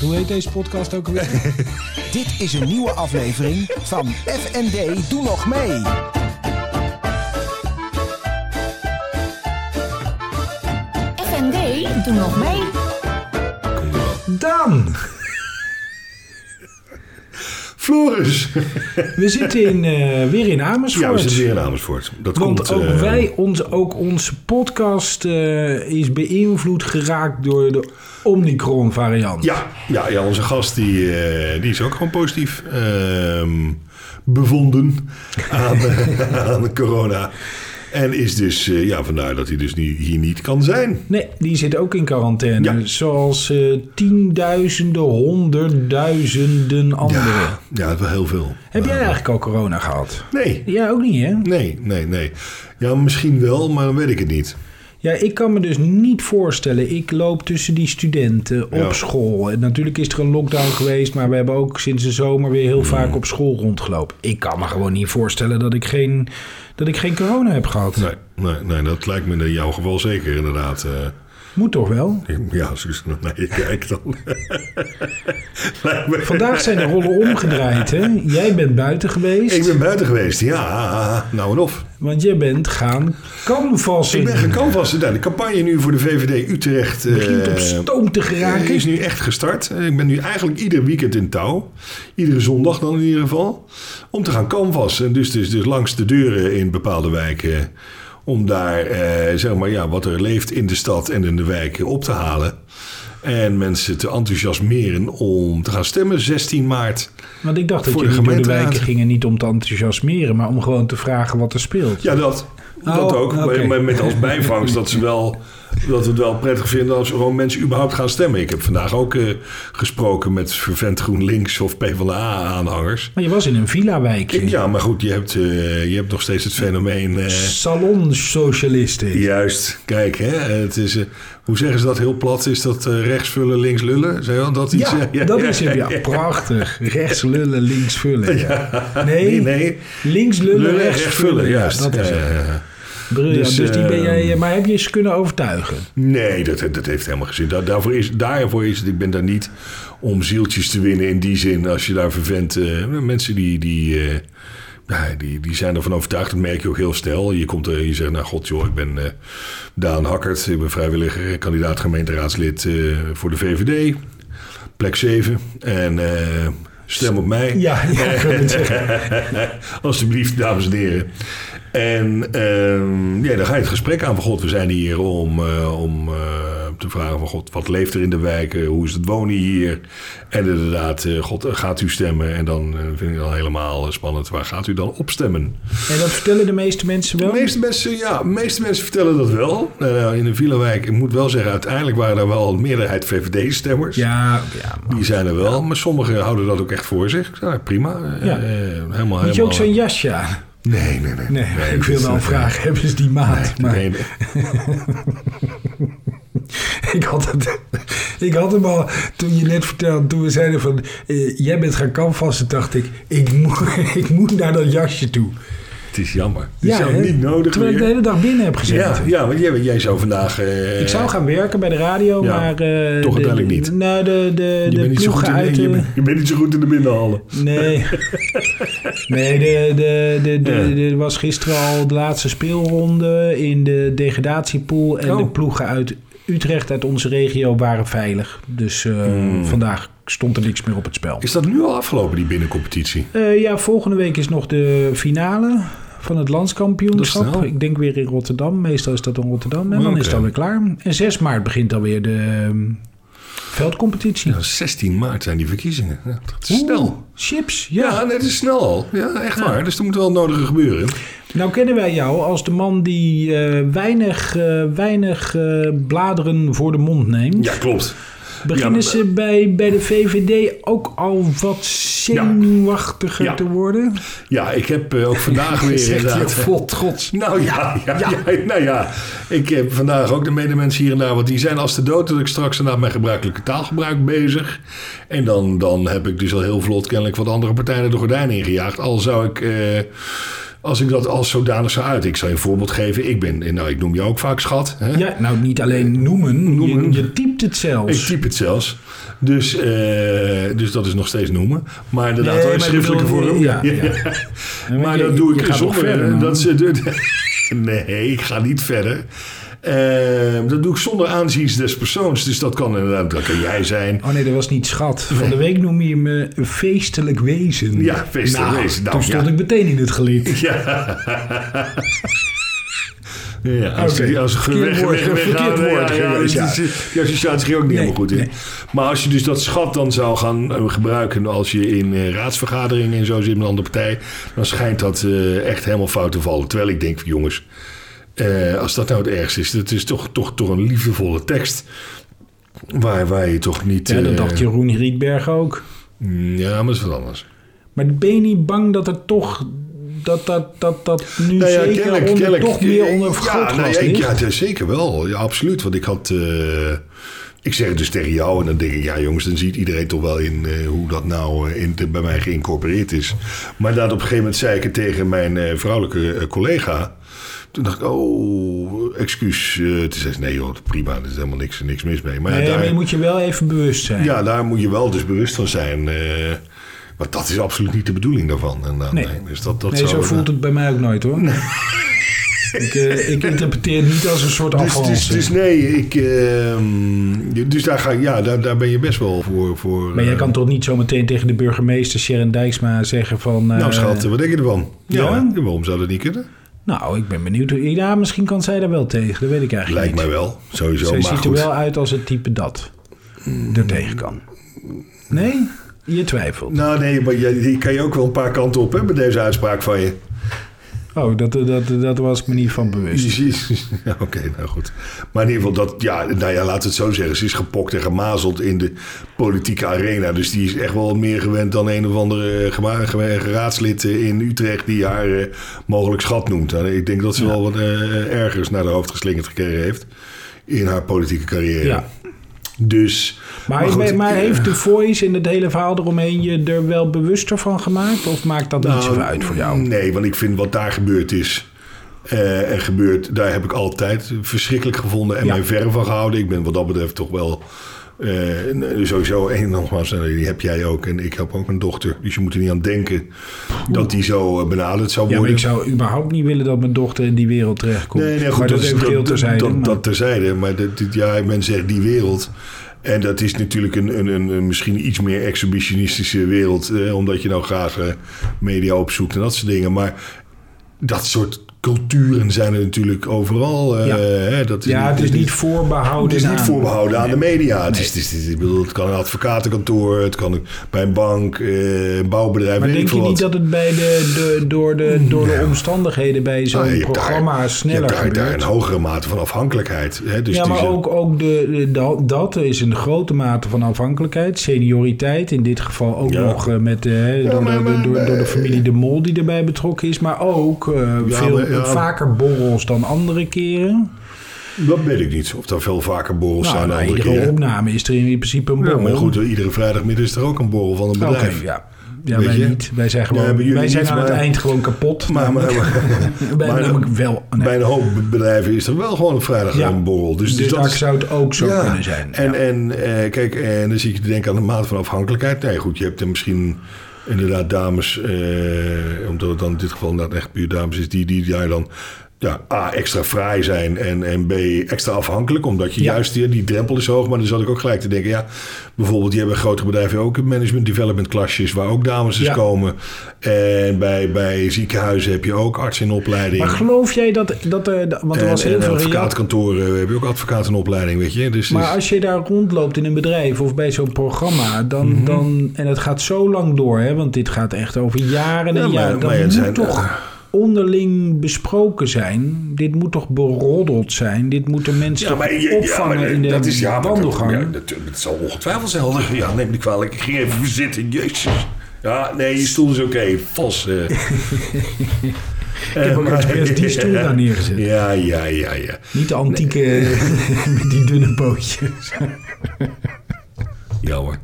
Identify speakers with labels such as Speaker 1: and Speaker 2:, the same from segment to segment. Speaker 1: Hoe heet deze podcast ook alweer?
Speaker 2: Dit is een nieuwe aflevering van FND Doe Nog Mee.
Speaker 3: FND, doe nog mee.
Speaker 1: Daan,
Speaker 4: Floris!
Speaker 1: we zitten in, eh, weer in Amersfoort.
Speaker 4: Ja, we zitten weer in Amersfoort. Dat
Speaker 1: Want
Speaker 4: komt,
Speaker 1: ook,
Speaker 4: eh,
Speaker 1: wij, ons, ook onze podcast eh, is beïnvloed geraakt door de Omicron-variant.
Speaker 4: Ja, ja, ja, onze gast die, eh, die is ook gewoon positief ehm, bevonden aan, aan corona. En is dus, eh, ja, vandaar dat hij dus nu hier niet kan zijn.
Speaker 1: Nee, die zit ook in quarantaine.
Speaker 4: Ja.
Speaker 1: Zoals eh, tienduizenden, honderdduizenden anderen.
Speaker 4: Ja, ja, wel heel veel.
Speaker 1: Heb jij eigenlijk al corona gehad?
Speaker 4: Nee,
Speaker 1: Ja, ook niet, hè?
Speaker 4: nee, nee, nee. Ja, misschien wel, maar dan weet ik het niet.
Speaker 1: Ja, ik kan me dus niet voorstellen. Ik loop tussen die studenten op
Speaker 4: Ja.
Speaker 1: school. En natuurlijk is er een lockdown geweest, maar we hebben ook sinds de zomer weer
Speaker 4: Mm.
Speaker 1: heel vaak op school rondgelopen. Ik kan me gewoon niet voorstellen dat ik geen, dat ik geen corona heb gehad.
Speaker 4: Nee, nee, nee, dat lijkt me in jouw geval zeker inderdaad. eh,
Speaker 1: Moet toch wel?
Speaker 4: ja, zo is het nog naar je kijkt dan. Lijkt me-
Speaker 1: Vandaag zijn de rollen omgedraaid, hè? Jij bent buiten geweest,
Speaker 4: Ik ben buiten geweest, ja. Nou en of.
Speaker 1: want jij bent gaan canvassen.
Speaker 4: Dus Ik ben gecanvast. Nou, de campagne nu voor de VVD Utrecht eh,
Speaker 1: Begint op stoom te geraken.
Speaker 4: is nu echt gestart. Eh, Ik ben nu eigenlijk ieder weekend in touw. Iedere zondag dan in ieder geval. Om te gaan canvassen. Dus, dus, dus langs de deuren in bepaalde wijken. Om daar eh, zeg maar, ja, wat er leeft in de stad en in de wijken op te halen. En mensen te enthousiasmeren om te gaan stemmen 16 maart.
Speaker 1: Want ik dacht dat
Speaker 4: Voor
Speaker 1: jullie
Speaker 4: de
Speaker 1: door de
Speaker 4: gemeenteraad.
Speaker 1: wijken gingen niet om te enthousiasmeren, maar om gewoon te vragen wat er speelt.
Speaker 4: Ja, dat. dat
Speaker 1: Oh,
Speaker 4: ook.
Speaker 1: oké.
Speaker 4: Maar- Maar met als bijvangst dat ze wel. Dat we het wel prettig vinden als gewoon mensen überhaupt gaan stemmen. Ik heb vandaag ook eh, gesproken met vervent GroenLinks of PvdA-aanhangers.
Speaker 1: Maar je was in een villa-wijkje.
Speaker 4: Ja, maar goed, je hebt, eh, je hebt nog steeds het fenomeen. eh,
Speaker 1: Salonsocialisten.
Speaker 4: juist, kijk, hè, het is, eh, hoe zeggen ze dat heel plat? Is dat eh, rechts vullen, links lullen? Zeg je wel dat iets? eh,
Speaker 1: Ja, dat is het. Ja, prachtig. Rechts lullen, links vullen. Nee,
Speaker 4: Nee, nee.
Speaker 1: links lullen,
Speaker 4: Lullen,
Speaker 1: rechts, vullen. Ja,
Speaker 4: juist.
Speaker 1: dat is
Speaker 4: Ja,
Speaker 1: het.
Speaker 4: ja, ja.
Speaker 1: Briljant. Dus,
Speaker 4: Dus,
Speaker 1: die ben
Speaker 4: ehm,
Speaker 1: jij, maar heb je ze kunnen overtuigen?
Speaker 4: Nee, dat, dat heeft helemaal geen zin. Daar- daarvoor, is, daarvoor is het. Ik ben daar niet om zieltjes te winnen in die zin. Als je daar vervent. eh, mensen die. die eh, ja, die, die zijn ervan overtuigd. Dat merk je ook heel snel. Je komt er en je zegt: Nou, god, joh, ik ben eh, Daan Hakkert. Ik ben vrijwilliger, eh, kandidaat gemeenteraadslid eh, voor de VVD. Plek 7. En eh, stem op mij.
Speaker 1: Ja, ja ik wil het zeggen.
Speaker 4: Alsjeblieft, dames en heren. En ehm, ja, dan ga je het gesprek aan van God. We zijn hier om, eh, om eh, te vragen van God, wat leeft er in de wijken? Hoe is het wonen hier? En inderdaad, eh, God, eh, gaat u stemmen? En dan eh, vind ik dan helemaal eh, spannend. Waar gaat u dan op stemmen?
Speaker 1: En dat vertellen de meeste mensen wel.
Speaker 4: De meeste mensen, ja, de meeste mensen vertellen dat wel. Eh, in de Villawijk, ik moet wel zeggen, uiteindelijk waren er wel een meerderheid VVD-stemmers.
Speaker 1: Ja, ja. maar-
Speaker 4: Die zijn er wel, maar sommigen houden dat ook echt voor zich. Ik zeg, nou, prima, Eh,
Speaker 1: Ja.
Speaker 4: eh, helemaal,
Speaker 1: Had je ook
Speaker 4: helemaal.
Speaker 1: zo'n jasje aan?
Speaker 4: Nee, nee, nee.
Speaker 1: Nee, ik wil
Speaker 4: dit is,
Speaker 1: wel
Speaker 4: eh,
Speaker 1: vragen, hebben ze die maat? maar
Speaker 4: Nee, nee.
Speaker 1: ik, had het, ik had hem al, toen je net vertelde, toen we zeiden van... eh, jij bent gaan canvassen, dacht ik, ik moet, ik moet naar dat jasje toe.
Speaker 4: Het is jammer. Het is
Speaker 1: hè?
Speaker 4: ook niet nodig
Speaker 1: Terwijl ik de
Speaker 4: meer.
Speaker 1: hele dag binnen heb gezeten.
Speaker 4: Ja, ja, want jij, jij zou vandaag... eh,
Speaker 1: Ik zou gaan werken bij de radio,
Speaker 4: Ja,
Speaker 1: maar... eh,
Speaker 4: toch
Speaker 1: de-
Speaker 4: uiteindelijk niet.
Speaker 1: Nou, de, de,
Speaker 4: je
Speaker 1: de
Speaker 4: bent niet zo goed
Speaker 1: ploegen
Speaker 4: in,
Speaker 1: uit...
Speaker 4: je,
Speaker 1: eh,
Speaker 4: bent, je bent niet zo goed in de binnenhallen.
Speaker 1: Nee. Nee, de, de, de, de,
Speaker 4: Ja.
Speaker 1: er was gisteren al de laatste speelronde in de degradatiepool. En
Speaker 4: Oh.
Speaker 1: de ploegen uit Utrecht, uit onze regio, waren veilig. Dus eh,
Speaker 4: Hmm.
Speaker 1: vandaag stond er niks meer op het spel.
Speaker 4: Is dat nu al afgelopen, die binnencompetitie?
Speaker 1: Eh, ja, volgende week is nog de finale van het
Speaker 4: Dat is
Speaker 1: landskampioenschap.
Speaker 4: snel.
Speaker 1: Ik denk weer in Rotterdam. Meestal is dat in Rotterdam. En dan
Speaker 4: Oké.
Speaker 1: is het alweer klaar. En 6 maart begint alweer de ehm, veldcompetitie.
Speaker 4: Ja, Nou, 16 maart zijn die verkiezingen. Ja, dat is
Speaker 1: Oeh,
Speaker 4: snel.
Speaker 1: Chips,
Speaker 4: Ja,
Speaker 1: ja.
Speaker 4: net net is snel al. Ja, echt waar. Dus er moet wel het nodige gebeuren.
Speaker 1: Nou kennen wij jou als de man die eh, weinig, eh, weinig eh, bladeren voor de mond neemt.
Speaker 4: Ja, klopt.
Speaker 1: Beginnen
Speaker 4: maar-
Speaker 1: ze bij, bij de VVD ook al wat zenuwachtiger
Speaker 4: Ja.
Speaker 1: te worden?
Speaker 4: Ja, ik heb eh, ook vandaag weer
Speaker 1: Zegt hij ook
Speaker 4: inderdaad...
Speaker 1: vol trots.
Speaker 4: Nou ja, ja, ja. nou ja. Ik heb vandaag ook de medemensen hier en daar, want die zijn als de dood dat ik straks naar mijn gebruikelijke taalgebruik bezig. En dan, dan heb ik dus al heel vlot kennelijk wat andere partijen de gordijn ingejaagd. Al zou ik eh, als ik dat als zodanig zou uit. Ik zal je een voorbeeld geven. Ik ben, nou, ik noem je ook vaak schat. Hè?
Speaker 1: Ja, nou niet alleen noemen,
Speaker 4: Noemen.
Speaker 1: Je, je typt het zelfs.
Speaker 4: Ik typ het zelfs. Dus, eh, dus dat is nog steeds noemen. Maar inderdaad,
Speaker 1: Nee,
Speaker 4: wel in
Speaker 1: maar ik
Speaker 4: schriftelijke
Speaker 1: bedoel,
Speaker 4: vorm.
Speaker 1: ja, ja.
Speaker 4: Maar,
Speaker 1: want je-
Speaker 4: dat doe
Speaker 1: je
Speaker 4: ik dus
Speaker 1: gaat nog
Speaker 4: zonder eh,
Speaker 1: verder dan.
Speaker 4: dat ze. nee, ik ga niet verder. Eh, dat doe ik zonder aanzien des persoons. Dus dat kan inderdaad, dat kan jij zijn.
Speaker 1: Oh nee, dat was niet schat. Van de week noem je me een feestelijk wezen.
Speaker 4: Ja, feestelijk
Speaker 1: Nou,
Speaker 4: wezen. Nou,
Speaker 1: toen stond
Speaker 4: ja.
Speaker 1: ik meteen in het gelid.
Speaker 4: Ja. Ja, als,
Speaker 1: Oké.
Speaker 4: die- als
Speaker 1: Verkeerd
Speaker 4: weg-
Speaker 1: woord,
Speaker 4: weg- weg-
Speaker 1: verkeerd
Speaker 4: ja,
Speaker 1: woord
Speaker 4: ja,
Speaker 1: geweest,
Speaker 4: ja,
Speaker 1: ja.
Speaker 4: Die associatie ging ook niet
Speaker 1: Nee,
Speaker 4: helemaal goed in.
Speaker 1: nee.
Speaker 4: Maar als je dus dat schat dan zou gaan eh, gebruiken als je in eh, raadsvergaderingen en zo zit met een andere partij, dan schijnt dat eh, echt helemaal fout te vallen. Terwijl ik denk, jongens, eh, als dat nou het ergste is, dat is toch, toch, toch een liefdevolle tekst. Waar, waar je toch niet.
Speaker 1: Ja, dat
Speaker 4: eh, mm,
Speaker 1: dacht Jeroen Rietberg ook.
Speaker 4: Ja, maar dat is wat anders.
Speaker 1: Maar ben je niet bang dat er toch... Dat dat, dat, dat nu
Speaker 4: Nou ja,
Speaker 1: zeker
Speaker 4: kennelijk-
Speaker 1: onder,
Speaker 4: kennelijk-
Speaker 1: toch meer onder
Speaker 4: ja, nou
Speaker 1: vergrootglas
Speaker 4: ja, ik-
Speaker 1: ligt?
Speaker 4: ja, het is zeker wel. Ja, absoluut. Want ik had... eh, ik zeg het dus tegen jou en dan denk ik... Ja jongens, dan ziet iedereen toch wel in eh, hoe dat nou eh, in, de- bij mij geïncorporeerd is. Maar dat op een gegeven moment zei ik het tegen mijn eh, vrouwelijke eh, collega. Toen dacht ik, oh, excuus. eh toen zei ze, nee joh, prima. Er is helemaal niks, niks mis mee. Maar, ja,
Speaker 1: Nee,
Speaker 4: daar,
Speaker 1: maar je moet je wel even bewust zijn.
Speaker 4: ja, daar moet je wel dus bewust van zijn. eh maar dat is absoluut niet de bedoeling daarvan. En, dan
Speaker 1: Nee.
Speaker 4: dus dat, dat
Speaker 1: nee,
Speaker 4: zou,
Speaker 1: zo voelt het bij mij ook nooit hoor. ik, eh, ik interpreteer het niet als een soort
Speaker 4: Dus,
Speaker 1: afval.
Speaker 4: dus, dus nee, ik, ehm, dus daar, ga, ik- ja, daar, daar ben je best wel voor. voor
Speaker 1: maar jij
Speaker 4: eh,
Speaker 1: kan toch niet zometeen tegen de burgemeester Sharon Dijksma zeggen van... eh,
Speaker 4: nou schat, wat denk je ervan? Ja,
Speaker 1: ja?
Speaker 4: waarom zou dat niet kunnen?
Speaker 1: Nou, ik ben benieuwd. hoe- Ja, misschien kan zij daar wel tegen. Dat weet ik eigenlijk
Speaker 4: Lijkt
Speaker 1: niet.
Speaker 4: mij wel, sowieso.
Speaker 1: Zij
Speaker 4: maar
Speaker 1: ziet er
Speaker 4: goed.
Speaker 1: wel uit als het type dat er tegen kan. Nee? Je twijfelt.
Speaker 4: Nou nee, maar je, die kan je ook wel een paar kanten op hè, met deze uitspraak van je.
Speaker 1: Oh, dat, dat, dat was ik me niet van bewust.
Speaker 4: Precies. Ja, Oké, nou goed. Maar in ieder geval, dat, ja, nou ja, laten we het zo zeggen. Ze is gepokt en gemazeld in de politieke arena. Dus die is echt wel meer gewend dan een of andere eh, gema- ge- raadslid eh, in Utrecht... die haar eh, mogelijk schat noemt. Nou, ik denk dat ze wel wat eh, ergers naar de hoofd geslingerd gekregen heeft... in haar politieke carrière.
Speaker 1: Ja.
Speaker 4: Dus...
Speaker 1: Maar,
Speaker 4: goed, eh,
Speaker 1: maar,
Speaker 4: ik-
Speaker 1: maar heeft de voice en het hele verhaal eromheen je er wel bewuster van gemaakt? Of maakt dat niet
Speaker 4: Nou,
Speaker 1: zoveel uit voor jou?
Speaker 4: Nee, want ik vind wat daar gebeurd is. eh, en gebeurt, daar heb ik altijd verschrikkelijk gevonden en
Speaker 1: Ja.
Speaker 4: mij verre van gehouden. Ik ben wat dat betreft toch wel. eh, sowieso, en nogmaals, eh, die heb jij ook en ik heb ook een dochter. Dus je moet er niet aan denken dat die zo eh, benaderd zou
Speaker 1: Ja, maar
Speaker 4: worden.
Speaker 1: ik zou überhaupt niet willen dat mijn dochter in die wereld terechtkomt.
Speaker 4: Nee, nee, goed,
Speaker 1: maar dat,
Speaker 4: is-
Speaker 1: is even heel
Speaker 4: dat,
Speaker 1: terzijde.
Speaker 4: dat,
Speaker 1: maar-
Speaker 4: dat terzijde. Maar dat, dit- ja, men zegt die wereld. En dat is natuurlijk een, een, een, een misschien iets meer exhibitionistische wereld. eh, omdat je nou graag eh, media opzoekt en dat soort dingen. Maar dat soort culturen zijn er natuurlijk overal. eh,
Speaker 1: Ja.
Speaker 4: hè, dat is
Speaker 1: ja, het is niet voorbehouden.
Speaker 4: het is niet
Speaker 1: aan-
Speaker 4: voorbehouden aan de media. Het, is, het, is- het is- ik bedoel, het kan een advocatenkantoor, het kan een- bij een bank, eh, een bouwbedrijf.
Speaker 1: Maar
Speaker 4: weet
Speaker 1: denk
Speaker 4: ik
Speaker 1: je
Speaker 4: veel wat.
Speaker 1: niet dat het bij de, de, door, de, door de omstandigheden bij zo'n
Speaker 4: Nou, je hebt daar-
Speaker 1: programma
Speaker 4: je
Speaker 1: sneller
Speaker 4: hebt daar,
Speaker 1: gebeurt?
Speaker 4: daar een hogere mate van afhankelijkheid. Hè? Dus
Speaker 1: ja,
Speaker 4: die
Speaker 1: maar
Speaker 4: zijn-
Speaker 1: ook, ook de, de- da- dat is een grote mate van afhankelijkheid. Senioriteit, in dit geval ook
Speaker 4: Ja.
Speaker 1: nog eh, met, eh, door,
Speaker 4: maar-
Speaker 1: de,
Speaker 4: maar-
Speaker 1: door, door de familie De Mol die erbij betrokken is. Maar ook eh, veel
Speaker 4: maar- ja.
Speaker 1: vaker borrels dan andere keren.
Speaker 4: Dat weet ik niet. Of daar veel vaker borrels
Speaker 1: Nou,
Speaker 4: zijn dan
Speaker 1: na
Speaker 4: andere
Speaker 1: iedere
Speaker 4: keren.
Speaker 1: opname is er in principe een
Speaker 4: Ja,
Speaker 1: borrel.
Speaker 4: maar goed, iedere vrijdagmiddag is er ook een borrel van een
Speaker 1: Oké,
Speaker 4: bedrijf.
Speaker 1: ja. Ja,
Speaker 4: Weet
Speaker 1: wij
Speaker 4: je?
Speaker 1: niet. Wij zijn,
Speaker 4: Ja,
Speaker 1: gewoon,
Speaker 4: bij jullie
Speaker 1: wij zijn
Speaker 4: niet,
Speaker 1: aan het
Speaker 4: maar-
Speaker 1: eind gewoon kapot.
Speaker 4: Maar, maar, maar-
Speaker 1: wij
Speaker 4: maar-
Speaker 1: namelijk wel. nee.
Speaker 4: bij een hoop bedrijven is er wel gewoon op vrijdag
Speaker 1: Ja.
Speaker 4: een borrel. Dus,
Speaker 1: Dus,
Speaker 4: dus
Speaker 1: daar
Speaker 4: dat is-
Speaker 1: zou het ook zo
Speaker 4: Ja.
Speaker 1: kunnen zijn.
Speaker 4: En, en eh, kijk, en dan zit je te denken aan de mate van afhankelijkheid. Nee, goed, je hebt er misschien inderdaad dames, eh, omdat het dan in dit geval inderdaad echt puur dames is, die, die daar dan ja, A, extra vrij zijn en, en B, extra afhankelijk. Omdat je
Speaker 1: Ja.
Speaker 4: juist die, die drempel is hoog. Maar dan zat ik ook gelijk te denken, ja, bijvoorbeeld, die hebben grote bedrijven ook management development klasjes, waar ook dames dus
Speaker 1: Ja.
Speaker 4: komen. En bij, bij ziekenhuizen heb je ook artsen in opleiding.
Speaker 1: maar geloof jij dat, dat er... Want er
Speaker 4: En-
Speaker 1: was
Speaker 4: en
Speaker 1: heel veel reactie.
Speaker 4: advocaatkantoren, we hebben ook advocaten in opleiding, weet je. Dus,
Speaker 1: Maar
Speaker 4: dus-
Speaker 1: als je daar rondloopt in een bedrijf of bij zo'n programma, dan,
Speaker 4: Mhm.
Speaker 1: dan, en het gaat zo lang door, hè, want dit gaat echt over jaren en
Speaker 4: Ja, maar-
Speaker 1: jaren, dan
Speaker 4: maar het
Speaker 1: moet
Speaker 4: zijn-
Speaker 1: toch onderling besproken zijn. Dit moet toch beroddeld zijn? Dit moeten mensen toch opvangen
Speaker 4: maar
Speaker 1: in de
Speaker 4: dat is, ja, maar
Speaker 1: wandelgang?
Speaker 4: Dat, ja, natuurlijk, het zal ongetwijfeld zijn. Ja, neem me niet kwalijk. Ik ging even zitten. Jezus. Ja, nee, je stoel is oké. Vos. eh.
Speaker 1: Ik heb ook expres die stoel daar neergezet.
Speaker 4: Ja, ja, ja, ja.
Speaker 1: Niet de antieke met die dunne bootjes.
Speaker 4: Jammer.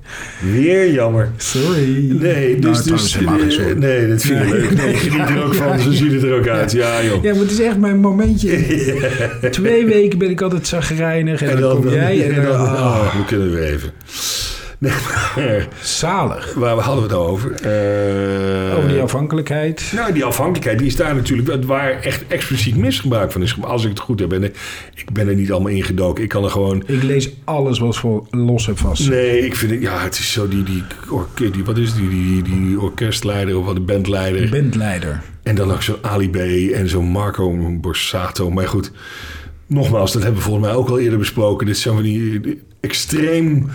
Speaker 4: Weer jammer.
Speaker 1: Sorry.
Speaker 4: Nee, dus...
Speaker 5: trouwens,
Speaker 4: dus
Speaker 5: helemaal geen
Speaker 4: eh,
Speaker 5: sorry.
Speaker 4: nee, dat vind ik leuk. Nee, geniet er ook van. Zo ziet het er ook uit. Ja, joh.
Speaker 1: Ja, maar het is echt mijn momentje. Twee weken ben ik altijd zagrijnig en, dan, kom jij en, dan... ah,
Speaker 4: oh, we kunnen weer even. Nee, maar,
Speaker 1: zalig.
Speaker 4: waar hadden we het nou
Speaker 1: Oh,
Speaker 4: over? Eh,
Speaker 1: Over die afhankelijkheid.
Speaker 4: Nou, die afhankelijkheid die is daar natuurlijk waar echt expliciet misgebruik van is. gemaakt. Als ik het goed heb, en eh, ik ben er niet allemaal ingedoken. Ik kan er gewoon.
Speaker 1: Ik lees alles wat voor los en vast.
Speaker 4: Nee, ik vind het. Ja, het is zo die, die, orke- die wat is het? die, die, die orkestleider of wat de bandleider.
Speaker 1: Bandleider.
Speaker 4: En dan ook zo'n Ali B en zo'n Marco Borsato. Maar goed, nogmaals, dat hebben we volgens mij ook al eerder besproken. Dit zijn van die eh, extreem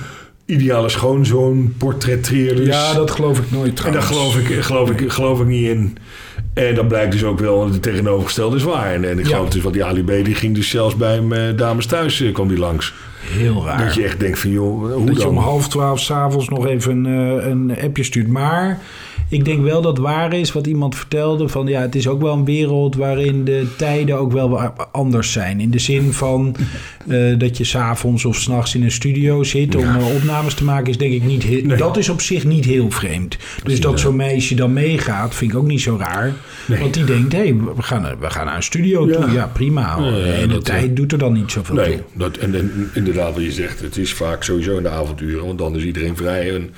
Speaker 4: ideale schoonzoon portretteerders.
Speaker 1: Ja, dat geloof ik nooit
Speaker 4: Dus- En daar
Speaker 1: trouwens.
Speaker 4: geloof ik, geloof, ik, geloof ik niet in. En dat blijkt dus ook wel, want het tegenovergestelde is waar. En, en ik
Speaker 1: Ja.
Speaker 4: geloof dus, wat die Ali B, die ging dus zelfs bij hem, eh, dames thuis, eh, kwam die langs.
Speaker 1: Heel raar.
Speaker 4: Dat je echt denkt van, joh, hoe
Speaker 1: Dat je
Speaker 4: dan?
Speaker 1: om half twaalf s'avonds nog even een, eh, een appje stuurt. Maar ik denk wel dat waar is wat iemand vertelde. Van ja, het is ook wel een wereld waarin de tijden ook wel wa- anders zijn. In de zin van eh, dat je s'avonds of s'nachts in een studio zit om eh, opnames te maken, is denk ik niet heel.
Speaker 4: Nee.
Speaker 1: Dat is op zich niet heel vreemd. Dus dat zo'n meisje dan meegaat, vind ik ook niet zo raar. Want die denkt, hé, hey, we, gaan, naar- we gaan naar een studio toe. Ja, prima. hoor.
Speaker 4: Ja, ja,
Speaker 1: en de
Speaker 4: dat, eh,
Speaker 1: tijd doet er dan niet zoveel toe.
Speaker 4: Nee, dat, en, en inderdaad wat je zegt, het is vaak sowieso in de avonduren, want dan is iedereen vrij en,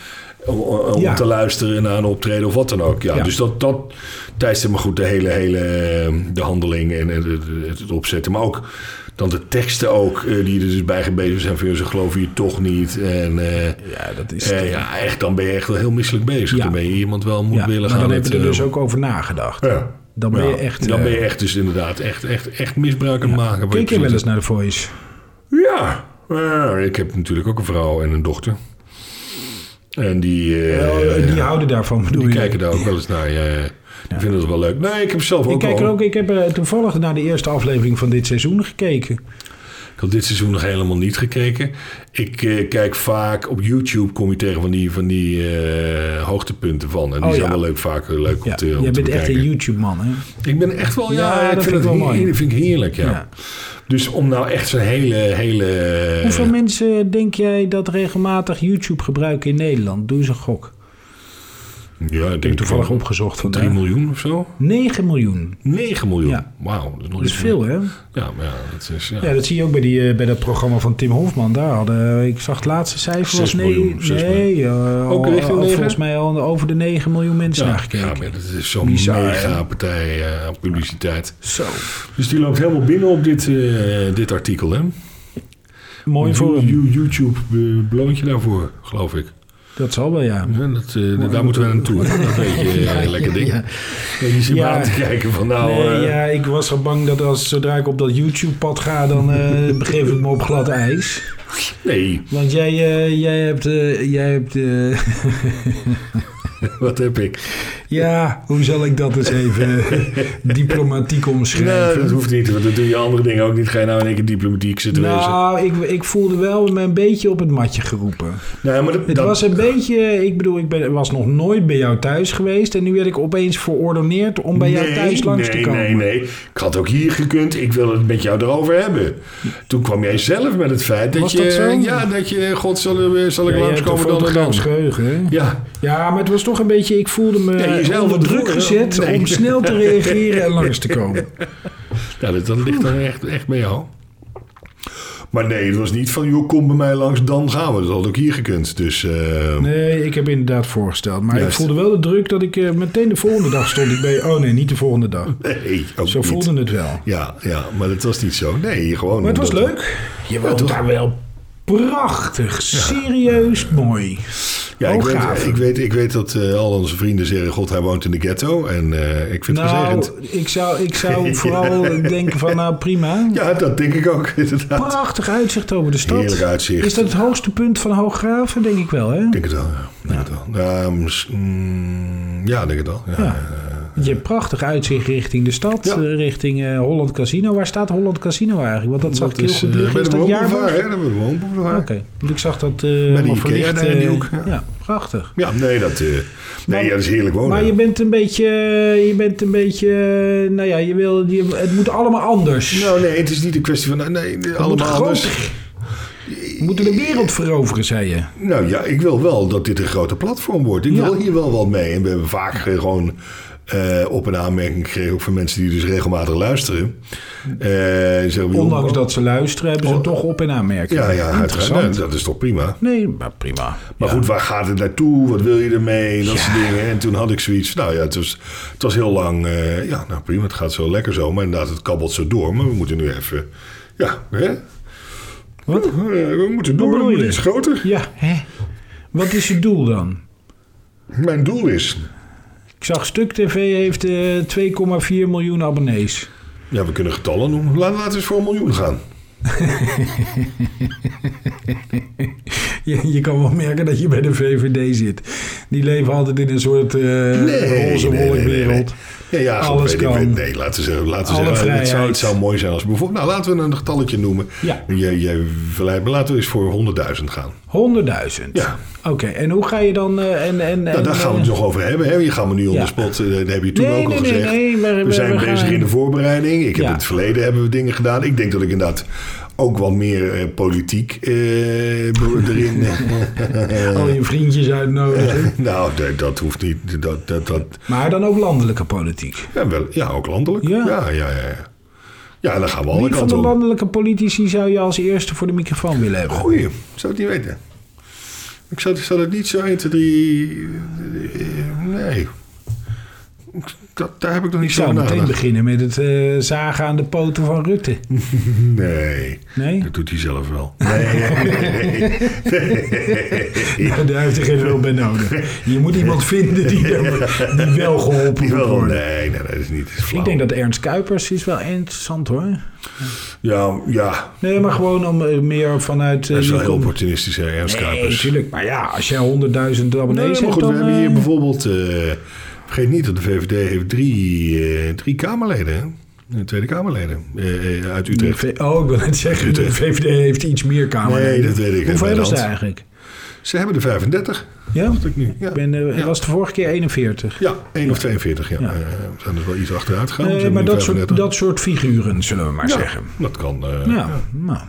Speaker 4: om, om
Speaker 1: Ja.
Speaker 4: te luisteren naar een optreden of wat dan ook. Ja,
Speaker 1: Ja.
Speaker 4: Dus dat, dat tijdstip maar goed, de hele, hele eh, de handeling en en het, het opzetten. Maar ook dan de teksten ook, eh, die er dus bij gebezigd zijn van, joh, ze geloven je toch niet. En, eh,
Speaker 1: Ja, dat is.
Speaker 4: eh, ja, echt, dan ben je echt wel heel misselijk bezig.
Speaker 1: Ja.
Speaker 4: Dan ben je iemand wel moet
Speaker 1: Ja,
Speaker 4: willen
Speaker 1: maar
Speaker 4: gaan.
Speaker 1: dan heb
Speaker 4: het,
Speaker 1: je er
Speaker 4: eh,
Speaker 1: dus ook over nagedacht.
Speaker 4: ja.
Speaker 1: Dan ben je
Speaker 4: Ja,
Speaker 1: echt,
Speaker 4: Dan
Speaker 1: eh,
Speaker 4: ben je echt dus inderdaad echt, echt, echt misbruik aan het maken. van
Speaker 1: Kijk je wel
Speaker 4: positie.
Speaker 1: eens naar de Voice?
Speaker 4: Ja, eh, ik heb natuurlijk ook een vrouw en een dochter. En die, eh,
Speaker 1: die houden daarvan, bedoel
Speaker 4: die
Speaker 1: je?
Speaker 4: kijken daar ook wel eens naar. Ja, ja. Die vinden dat wel leuk. Nee, ik heb zelf ook
Speaker 1: ik, kijk er
Speaker 4: al-
Speaker 1: ook, ik heb eh, toevallig naar de eerste aflevering van dit seizoen gekeken.
Speaker 4: Ik had dit seizoen nog helemaal niet gekeken. Ik eh, kijk vaak op YouTube kom je tegen van die, van die eh, hoogtepunten van. En die
Speaker 1: Oh,
Speaker 4: zijn
Speaker 1: ja.
Speaker 4: wel leuk, vaak eh, leuk om
Speaker 1: Ja,
Speaker 4: te, om
Speaker 1: jij
Speaker 4: te
Speaker 1: bent echt
Speaker 4: bekijken.
Speaker 1: een YouTube-man, hè?
Speaker 4: Ik ben echt wel,
Speaker 1: Ja,
Speaker 4: ja, ik
Speaker 1: dat
Speaker 4: vind,
Speaker 1: vind ik
Speaker 4: het
Speaker 1: wel
Speaker 4: wel
Speaker 1: mooi.
Speaker 4: vind ik heerlijk, ja.
Speaker 1: Ja.
Speaker 4: Dus om nou echt zo'n hele, hele...
Speaker 1: Hoeveel mensen eh, denk jij dat regelmatig YouTube gebruiken in Nederland? Doe eens een gok.
Speaker 4: Ja, ik
Speaker 1: Ik
Speaker 4: denk
Speaker 1: heb toevallig
Speaker 4: van
Speaker 1: opgezocht vandaag.
Speaker 4: 3 miljoen of zo?
Speaker 1: 9 miljoen.
Speaker 4: 9 miljoen.
Speaker 1: Ja.
Speaker 4: Wauw, dat is nog
Speaker 1: Dat is
Speaker 4: iets-
Speaker 1: veel, hè?
Speaker 4: Ja, maar ja, dat is... Ja.
Speaker 1: Ja, dat zie je ook bij, die, eh, bij dat programma van Tim Hofman. Daar hadden, eh, ik zag het laatste cijfer was
Speaker 4: Zes
Speaker 1: nee,
Speaker 4: miljoen, zes
Speaker 1: nee eh,
Speaker 4: Ook
Speaker 1: al-
Speaker 4: richting
Speaker 1: al-
Speaker 4: negen?
Speaker 1: volgens mij al over de 9 miljoen mensen naar gekeken.
Speaker 4: ja, maar dat is zo'n
Speaker 1: Bizar, hè?
Speaker 4: mega partij eh, aan publiciteit.
Speaker 1: Zo,
Speaker 4: Dus die loopt helemaal binnen op dit, eh, dit artikel, hè?
Speaker 1: mooi voor hem.
Speaker 4: You- YouTube eh, beloont je daarvoor, geloof ik.
Speaker 1: Dat zal wel, ja.
Speaker 4: Ja, dat, eh, daar moeten we naartoe. Dat weet je, eh, lekker ding.
Speaker 1: ja.
Speaker 4: En je zit
Speaker 1: Ja.
Speaker 4: maar aan te kijken van nou...
Speaker 1: Nee,
Speaker 4: eh,
Speaker 1: ja, ik was al bang dat als, zodra ik op dat YouTube-pad ga, dan eh, begeef ik me op glad ijs.
Speaker 4: nee,
Speaker 1: Want jij, eh, jij hebt... eh, jij hebt eh,
Speaker 4: wat heb ik?
Speaker 1: ja, hoe zal ik dat eens even eh, diplomatiek
Speaker 4: Nou,
Speaker 1: omschrijven?
Speaker 4: dat hoeft niet, want dat doe je andere dingen ook niet. Ga je nou in één keer diplomatiek zitten wezen.
Speaker 1: Nou, ik, ik voelde wel me een beetje op het matje geroepen.
Speaker 4: Nee, maar dat,
Speaker 1: Het
Speaker 4: dat-
Speaker 1: was een beetje, ik bedoel, ik ben, was nog nooit bij jou thuis geweest. En nu werd ik opeens verordoneerd om bij jou
Speaker 4: Nee,
Speaker 1: thuis langs
Speaker 4: nee,
Speaker 1: te komen.
Speaker 4: Nee, nee, Ik had ook hier gekund. Ik wil het met jou erover hebben. Toen kwam jij zelf met het feit dat
Speaker 1: Was
Speaker 4: je...
Speaker 1: dat zo?
Speaker 4: Ja, dat je... God, zal, eh, zal ik
Speaker 1: Ja, jij hebt
Speaker 4: langskomen
Speaker 1: een
Speaker 4: dan en dan?
Speaker 1: fotograafs geheugen, hè?
Speaker 4: Ja,
Speaker 1: Ja, maar het was toch een beetje, ik voelde me
Speaker 4: Nee, jezelf
Speaker 1: onder
Speaker 4: ervoor,
Speaker 1: druk
Speaker 4: hè?
Speaker 1: gezet
Speaker 4: Nee.
Speaker 1: om snel te reageren en langs te komen.
Speaker 4: ja dat, dat ligt dan echt, echt bij jou. Maar nee, het was niet van... joh, kom bij mij langs, dan gaan we. Dat had ook hier gekund. Dus eh,
Speaker 1: Nee, ik heb inderdaad voorgesteld. Maar
Speaker 4: Juist.
Speaker 1: ik voelde wel de druk dat ik eh, meteen de volgende dag stond. Ik bij, oh nee, niet de volgende dag.
Speaker 4: nee, ook
Speaker 1: Zo
Speaker 4: Hm. niet.
Speaker 1: voelde het wel.
Speaker 4: Ja, ja, maar dat was niet zo. Nee, gewoon...
Speaker 1: Maar het was
Speaker 4: omdat-
Speaker 1: leuk. Je
Speaker 4: Ja,
Speaker 1: woont
Speaker 4: toch?
Speaker 1: daar wel prachtig, serieus mooi.
Speaker 4: Ja, ik weet,
Speaker 1: Hooggraven.
Speaker 4: ik, weet, ik weet dat eh, al onze vrienden zeggen... God, hij woont in de ghetto. En eh, ik vind het gezegend.
Speaker 1: Nou, ik zou, ik zou vooral denken van nou prima.
Speaker 4: Ja, dat denk ik ook, inderdaad.
Speaker 1: Prachtig uitzicht over de stad.
Speaker 4: Heerlijk uitzicht.
Speaker 1: Is dat het hoogste punt van Hooggraven? Denk ik wel, hè?
Speaker 4: Ik denk het wel, ja. Ik Denk het wel. Ja, mis- mm, ja, ik denk het wel. Ja.
Speaker 1: Ja. Want Je hebt prachtig uitzicht richting de stad,
Speaker 4: Ja.
Speaker 1: eh, richting eh, Holland Casino. Waar staat Holland Casino eigenlijk? Want dat zag ik heel goed
Speaker 4: eh,
Speaker 1: liggen.
Speaker 4: bij
Speaker 1: Is
Speaker 4: de
Speaker 1: dat
Speaker 4: woonboulevard,
Speaker 1: jaarmarkt?
Speaker 4: hè? Dat bij de woonboulevard.
Speaker 1: Oké, want ik zag dat eh helemaal
Speaker 4: Ikea
Speaker 1: verlicht.
Speaker 4: daar in
Speaker 1: eh,
Speaker 4: die hoek,
Speaker 1: ja.
Speaker 4: ja.
Speaker 1: prachtig.
Speaker 4: Ja, nee, dat, eh, nee
Speaker 1: Maar-
Speaker 4: Oh, ja, dat is heerlijk wonen.
Speaker 1: Maar je bent een beetje, je bent een beetje, eh, nou ja, je wil, je, het moet allemaal anders.
Speaker 4: Nou, nee, het is niet een kwestie van... nou, Nee, allemaal
Speaker 1: groter.
Speaker 4: anders.
Speaker 1: We moeten de wereld veroveren, zei je.
Speaker 4: Nou ja, ik wil wel dat dit een grote platform wordt. Ik
Speaker 1: Ja.
Speaker 4: wil hier wel wat mee. En we hebben vaak gewoon eh, op een aanmerking gekregen... ook van mensen die dus regelmatig luisteren. Eh, zeggen, joh,
Speaker 1: Ondanks dat ze luisteren, hebben ze hem toch op en aanmerking.
Speaker 4: Oh. Ja, ja uiteraard.
Speaker 1: Interessant.
Speaker 4: Nou, dat is toch prima.
Speaker 1: Nee, maar prima.
Speaker 4: Maar goed, waar gaat het naartoe? Wat wil je ermee? Dat soort dingen. En toen had ik zoiets. Nou ja, het was, het was heel lang. eh, ja, nou prima, het gaat zo lekker zo. Maar inderdaad, het kabbelt zo door. Maar we moeten nu even. Ja, hè?
Speaker 1: Wat?
Speaker 4: Eh, we moeten door. We
Speaker 1: bedoel
Speaker 4: moeten
Speaker 1: je?
Speaker 4: iets groter.
Speaker 1: Ja, hè? Wat is je doel dan?
Speaker 4: Mijn doel is.
Speaker 1: Ik zag Stuk TV heeft eh 2,4 miljoen abonnees.
Speaker 4: Ja, we kunnen getallen noemen. Laat, laten we eens voor een miljoen gaan.
Speaker 1: Je, je kan wel merken dat je bij de VVD zit. Die leven altijd in een soort eh roze wolkwereld.
Speaker 4: Ja, ja, goed,
Speaker 1: Alles
Speaker 4: weet ik,
Speaker 1: kan.
Speaker 4: weet- nee, laten we zeggen, laten we
Speaker 1: Alle
Speaker 4: zeggen het, zou,
Speaker 1: vrijheid.
Speaker 4: het zou mooi zijn als we bijvoorbeeld... Nou, laten we een getalletje noemen.
Speaker 1: Ja.
Speaker 4: Jij, jij verleidt me. Laten we eens voor 100.000 gaan.
Speaker 1: 100.000.
Speaker 4: Ja.
Speaker 1: Oké, en hoe ga je dan... eh, en, en,
Speaker 4: Nou,
Speaker 1: en,
Speaker 4: daar gaan
Speaker 1: eh,
Speaker 4: we het nog over hebben. Hè? Je gaat me nu
Speaker 1: Ja.
Speaker 4: onder spot. eh, Dat heb je toen
Speaker 1: Nee,
Speaker 4: ook al
Speaker 1: nee, nee,
Speaker 4: gezegd.
Speaker 1: nee, maar
Speaker 4: we,
Speaker 1: we-
Speaker 4: zijn
Speaker 1: we
Speaker 4: bezig
Speaker 1: gaan-
Speaker 4: in de voorbereiding. Ik heb
Speaker 1: Ja.
Speaker 4: in het verleden hebben we dingen gedaan. Ik denk dat ik inderdaad ook wat meer eh, politiek eh, be- erin.
Speaker 1: Al je vriendjes uitnodigen.
Speaker 4: nou, dat, dat hoeft niet. Dat, dat, dat,
Speaker 1: maar dan ook landelijke politiek.
Speaker 4: ja, wel, ja, ook landelijk. Ja,
Speaker 1: Ja.
Speaker 4: ja, ja. ja. Ja, dan gaan we alle
Speaker 1: Wie van de
Speaker 4: kanten op.
Speaker 1: landelijke politici zou je als eerste voor de microfoon willen hebben?
Speaker 4: Goeie, zou het niet weten. Ik zou, zou het niet zo 1, 2, 3... eh, Nee. Dat, daar heb ik nog niet
Speaker 1: Ik
Speaker 4: zo
Speaker 1: zou
Speaker 4: aan
Speaker 1: meteen
Speaker 4: nagedacht.
Speaker 1: beginnen met het eh, zagen aan de poten van Rutte.
Speaker 4: Nee.
Speaker 1: Nee?
Speaker 4: Dat doet hij zelf wel. Nee.
Speaker 1: Daar heeft er geen hulp bij nodig. Je moet iemand vinden die, die wel geholpen
Speaker 4: Die
Speaker 1: moet
Speaker 4: wel, eh,
Speaker 1: worden.
Speaker 4: nee, nee, dat is niet. dat is flauw.
Speaker 1: Ik denk dat Ernst Kuipers is wel interessant hoor.
Speaker 4: Ja, ja.
Speaker 1: Nee, maar gewoon om eh, meer vanuit... eh,
Speaker 4: Dat is wel
Speaker 1: je
Speaker 4: heel
Speaker 1: komt-
Speaker 4: opportunistisch, hè, Ernst
Speaker 1: Nee,
Speaker 4: Kuipers.
Speaker 1: natuurlijk. Maar ja, als jij 100.000 abonnees
Speaker 4: Nee,
Speaker 1: hebt,
Speaker 4: maar goed,
Speaker 1: dan...
Speaker 4: we hebben
Speaker 1: eh,
Speaker 4: hier bijvoorbeeld... eh, vergeet niet dat de VVD heeft drie, eh, drie Kamerleden, hè? Eh, Tweede Kamerleden eh, eh, uit
Speaker 1: de
Speaker 4: Utrecht.
Speaker 1: V- oh, ik wil net zeggen, de VVD heeft iets meer kamer.
Speaker 4: Nee, dat weet
Speaker 1: Hoeveel
Speaker 4: ik. Bij de
Speaker 1: hebben ze
Speaker 4: hand.
Speaker 1: eigenlijk?
Speaker 4: Ze hebben de 35,
Speaker 1: Ja?
Speaker 4: dacht ik nu. Ja,
Speaker 1: Ik ben, eh, was de vorige keer 41.
Speaker 4: ja 1 of 42, ja.
Speaker 1: Ja.
Speaker 4: Eh, we zijn dus wel iets achteruit gegaan.
Speaker 1: Eh,
Speaker 4: Ze hebben
Speaker 1: maar
Speaker 4: nu
Speaker 1: dat soort,
Speaker 4: 35.
Speaker 1: dat soort figuren, zullen we maar
Speaker 4: Ja,
Speaker 1: zeggen.
Speaker 4: dat kan. eh,
Speaker 1: Ja,
Speaker 4: ja.
Speaker 1: nou.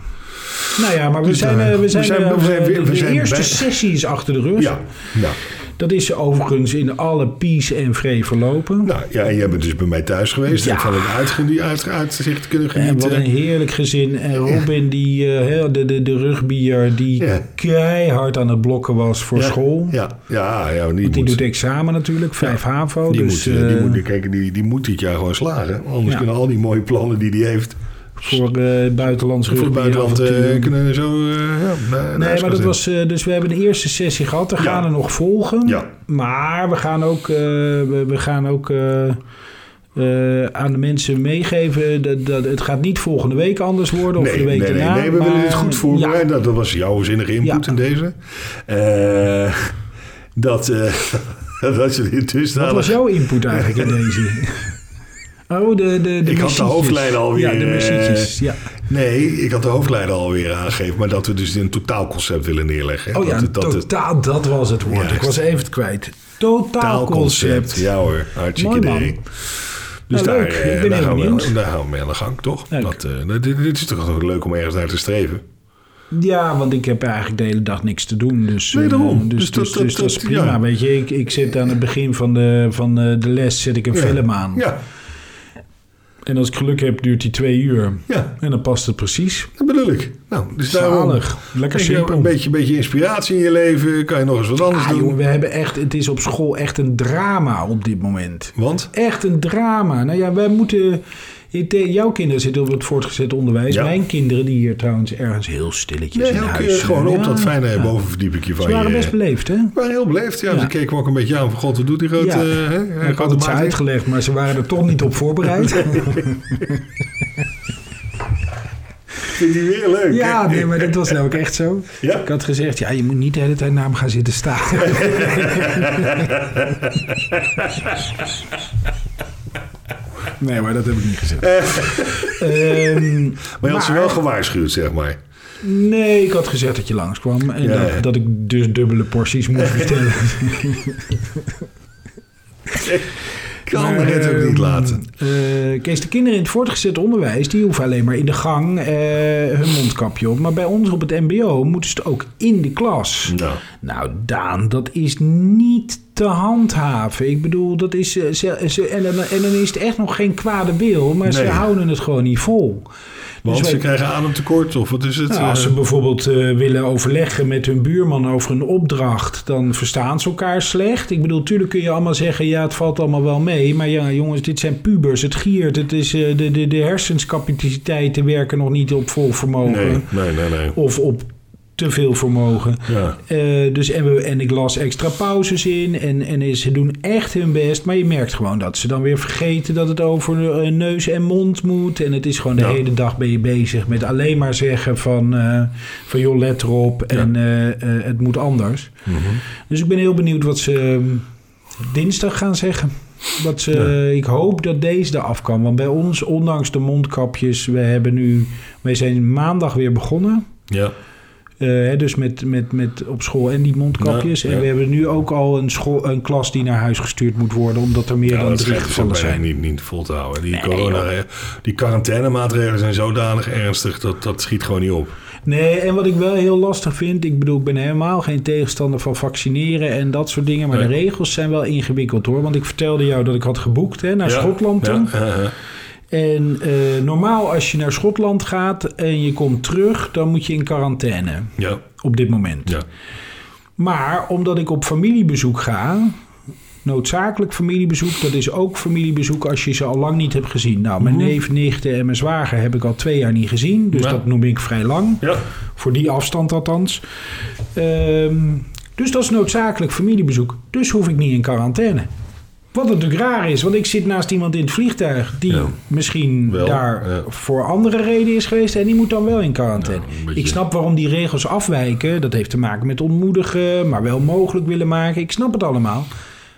Speaker 1: Nou ja, maar we
Speaker 4: Dus,
Speaker 1: zijn,
Speaker 4: eh,
Speaker 1: eh,
Speaker 4: we
Speaker 1: we zijn,
Speaker 4: zijn-
Speaker 1: eh,
Speaker 4: we zijn- we
Speaker 1: de, de
Speaker 4: zijn
Speaker 1: eerste
Speaker 4: bij-
Speaker 1: sessie is achter de rug.
Speaker 4: Ja, Nou, ja.
Speaker 1: Dat is overigens in alle peace en vree verlopen.
Speaker 4: Nou ja, en jij bent dus bij mij thuis geweest.
Speaker 1: Ja.
Speaker 4: Ik van het uitge- die uit- uitzicht kunnen
Speaker 1: en
Speaker 4: genieten.
Speaker 1: wat een heerlijk gezin. En Robin, die, eh, hè, de, de, de rugbier, die
Speaker 4: Ja.
Speaker 1: keihard aan het blokken was voor
Speaker 4: ja,
Speaker 1: school.
Speaker 4: Ja, ja, ja die,
Speaker 1: Die
Speaker 4: moet,
Speaker 1: doet examen natuurlijk, 5 HAVO.
Speaker 4: die,
Speaker 1: dus
Speaker 4: moet, eh, die,
Speaker 1: eh,
Speaker 4: moet, kijk, die, die moet dit jaar gewoon slagen. Anders
Speaker 1: Ja.
Speaker 4: kunnen al die mooie plannen die die heeft
Speaker 1: voor eh buitenlands
Speaker 4: voor
Speaker 1: rugbier.
Speaker 4: het buitenland eh,
Speaker 1: avontuur.
Speaker 4: kunnen zo... eh, ja, naar- naar
Speaker 1: Nee,
Speaker 4: huis
Speaker 1: maar
Speaker 4: gaan
Speaker 1: dat
Speaker 4: zitten.
Speaker 1: was, eh, dus we hebben de eerste sessie gehad. We
Speaker 4: Ja.
Speaker 1: gaan er nog volgen.
Speaker 4: Ja.
Speaker 1: Maar we gaan ook, eh, we, we gaan ook eh, eh, aan de mensen meegeven dat, dat het gaat niet volgende week anders worden of
Speaker 4: Nee,
Speaker 1: de
Speaker 4: nee,
Speaker 1: week
Speaker 4: nee,
Speaker 1: daarna.
Speaker 4: nee, we willen
Speaker 1: maar-
Speaker 4: dit goed
Speaker 1: Ja.
Speaker 4: voorbereiden. Dat, dat was jouw zinnige input
Speaker 1: Ja.
Speaker 4: in deze. Eh, dat, eh dat je dit dus
Speaker 1: Wat was
Speaker 4: dusdanig...
Speaker 1: jouw input eigenlijk in deze? Oh, de, de, de
Speaker 4: de
Speaker 1: muziekjes.
Speaker 4: hoofdlijnen alweer,
Speaker 1: Ja, de
Speaker 4: eh,
Speaker 1: muziekjes. Ja.
Speaker 4: Nee, ik had de hoofdlijnen alweer aangegeven. Maar dat we dus een totaalconcept willen neerleggen. hè.
Speaker 1: Oh ja,
Speaker 4: dat, dat het
Speaker 1: totaal, dat was het woord. Ik
Speaker 4: Juist.
Speaker 1: was even het kwijt. Totaalconcept.
Speaker 4: totaalconcept. Ja hoor, hartstikke
Speaker 1: Mooi,
Speaker 4: idee.
Speaker 1: man.
Speaker 4: Dus
Speaker 1: Nou,
Speaker 4: daar,
Speaker 1: leuk.
Speaker 4: eh,
Speaker 1: Ik ben
Speaker 4: daar,
Speaker 1: heel
Speaker 4: gaan we,
Speaker 1: benieuwd.
Speaker 4: daar gaan we mee aan de gang, toch?
Speaker 1: Leuk.
Speaker 4: Dat, eh, dit, dit is toch ook leuk om ergens naar te streven?
Speaker 1: Ja, want ik heb eigenlijk de hele dag niks te doen. Dus,
Speaker 4: Nee,
Speaker 1: eh,
Speaker 4: daarom.
Speaker 1: dus,
Speaker 4: Dus
Speaker 1: dus,
Speaker 4: dat-
Speaker 1: dus
Speaker 4: dat-
Speaker 1: dat, is
Speaker 4: dat-
Speaker 1: prima.
Speaker 4: ja.
Speaker 1: Weet je, ik, ik zit aan het begin van de, van de, de les zet ik een film aan.
Speaker 4: Ja,
Speaker 1: En als ik geluk heb, duurt die twee uur.
Speaker 4: ja,
Speaker 1: En dan past het precies.
Speaker 4: dat bedoel ik. Nou, dus daarom...
Speaker 1: Zalig. Lekker
Speaker 4: Kijk, je hebt
Speaker 1: simpel.
Speaker 4: een beetje, beetje inspiratie in je leven. Kan je nog eens wat anders
Speaker 1: Ah,
Speaker 4: doen?
Speaker 1: jongen, we hebben echt, het is op school echt een drama op dit moment.
Speaker 4: Want?
Speaker 1: Echt een drama. Nou ja, wij moeten... het- eh, Jouw kinderen zitten op het voortgezet onderwijs.
Speaker 4: Ja.
Speaker 1: Mijn kinderen, die hier trouwens ergens heel stilletjes
Speaker 4: Nee,
Speaker 1: in
Speaker 4: elke keer
Speaker 1: huis
Speaker 4: gewoon
Speaker 1: eh,
Speaker 4: op dat Oh,
Speaker 1: ja.
Speaker 4: fijne bovenverdiepingje van
Speaker 1: Ze waren
Speaker 4: je.
Speaker 1: best beleefd, hè?
Speaker 4: Maar heel beleefd, ja.
Speaker 1: Ja.
Speaker 4: Ze keken me ook een beetje aan van god, wat doet die grote...
Speaker 1: Ja.
Speaker 4: eh, hè,
Speaker 1: Ik had
Speaker 4: grote
Speaker 1: het ze
Speaker 4: baas?
Speaker 1: uitgelegd, maar ze waren er toch niet op voorbereid.
Speaker 4: Vindt hij weer leuk.
Speaker 1: ja, nee, maar dat was nou ook echt zo.
Speaker 4: Ja?
Speaker 1: Ik had gezegd, ja, je moet niet de hele tijd naam gaan zitten staan. nee, maar dat heb ik niet gezegd.
Speaker 4: Eh.
Speaker 1: Ehm,
Speaker 4: Maar je had ze wel gewaarschuwd, zeg maar.
Speaker 1: nee, ik had gezegd dat je langskwam en
Speaker 4: Ja,
Speaker 1: dat,
Speaker 4: ja.
Speaker 1: dat ik dus dubbele porties moest bestellen.
Speaker 4: kan
Speaker 1: Maar,
Speaker 4: het ook
Speaker 1: ehm,
Speaker 4: niet laten.
Speaker 1: eh, Kees, de kinderen in het voortgezet onderwijs... die hoeven alleen maar in de gang eh, hun mondkapje op. Maar bij ons op het mbo moeten ze het ook in de klas.
Speaker 4: Nou,
Speaker 1: Nou, Daan, dat is niet te handhaven. Ik bedoel, dat is. eh, ze- ze- en, dan, en dan is het echt nog geen kwade wil, maar ze
Speaker 4: Nee.
Speaker 1: houden het gewoon niet vol. Dus
Speaker 4: want
Speaker 1: wij-
Speaker 4: ze krijgen ademtekort of wat is het?
Speaker 1: Nou, als
Speaker 4: Eh,
Speaker 1: ze bijvoorbeeld eh, willen overleggen met hun buurman over een opdracht, dan verstaan ze elkaar slecht. Ik bedoel, tuurlijk kun je allemaal zeggen, ja, het valt allemaal wel mee. Maar ja, jongens, dit zijn pubers, het giert, het is, eh, de, de, de hersenscapaciteiten werken nog niet op vol vermogen.
Speaker 4: nee, nee, nee, nee.
Speaker 1: Of op te veel vermogen.
Speaker 4: Ja.
Speaker 1: Eh, dus en, we, en ik las extra pauzes in. En, en ze doen echt hun best. Maar je merkt gewoon dat ze dan weer vergeten dat het over eh, neus en mond moet. En het is gewoon de
Speaker 4: Ja.
Speaker 1: hele dag ben je bezig met alleen maar zeggen van... eh, van joh, let erop en eh, eh, het moet anders.
Speaker 4: Mhm.
Speaker 1: Dus ik ben heel benieuwd wat ze eh, dinsdag gaan zeggen. Wat ze, eh, Ik hoop dat deze eraf kan. Want bij ons, ondanks de mondkapjes... We hebben nu, wij zijn maandag weer begonnen...
Speaker 4: Ja.
Speaker 1: Eh, hè, dus met, met, met op school en die mondkapjes.
Speaker 4: Ja,
Speaker 1: en
Speaker 4: ja.
Speaker 1: we hebben nu ook al een, school, een klas die naar huis gestuurd moet worden. Omdat er meer
Speaker 4: Ja,
Speaker 1: dan
Speaker 4: dat
Speaker 1: drie
Speaker 4: schijnt dus ook
Speaker 1: gevallen
Speaker 4: bijna
Speaker 1: zijn.
Speaker 4: niet, niet vol te houden. Die, corona, die quarantainemaatregelen zijn zodanig ernstig dat dat schiet gewoon niet op.
Speaker 1: Nee, en wat ik wel heel lastig vind. Ik bedoel, ik ben helemaal geen tegenstander van vaccineren en dat soort dingen. Maar de
Speaker 4: Nee.
Speaker 1: regels zijn wel ingewikkeld hoor. Want ik vertelde jou dat ik had geboekt hè, naar
Speaker 4: Ja,
Speaker 1: Schotland
Speaker 4: ja,
Speaker 1: toe.
Speaker 4: eh, eh.
Speaker 1: En eh, normaal als je naar Schotland gaat en je komt terug, dan moet je in quarantaine.
Speaker 4: ja,
Speaker 1: Op dit moment.
Speaker 4: ja.
Speaker 1: Maar omdat ik op familiebezoek ga, noodzakelijk familiebezoek, dat is ook familiebezoek als je ze al lang niet hebt gezien. Nou, mijn neef, nichten en mijn zwager heb ik al twee jaar niet gezien, dus
Speaker 4: Mhm. Ja.
Speaker 1: dat noem ik vrij lang.
Speaker 4: ja.
Speaker 1: Voor die afstand althans. Ehm, dus dat is noodzakelijk familiebezoek. Dus hoef ik niet in quarantaine. Wat natuurlijk raar is, want ik zit naast iemand in het vliegtuig die
Speaker 4: Ja.
Speaker 1: misschien
Speaker 4: Wel,
Speaker 1: daar
Speaker 4: ja.
Speaker 1: voor andere reden is geweest en die moet dan wel in quarantaine.
Speaker 4: Ja, een beetje.
Speaker 1: ik snap waarom die regels afwijken. Dat heeft te maken met ontmoedigen, maar wel mogelijk willen maken. Ik snap het allemaal.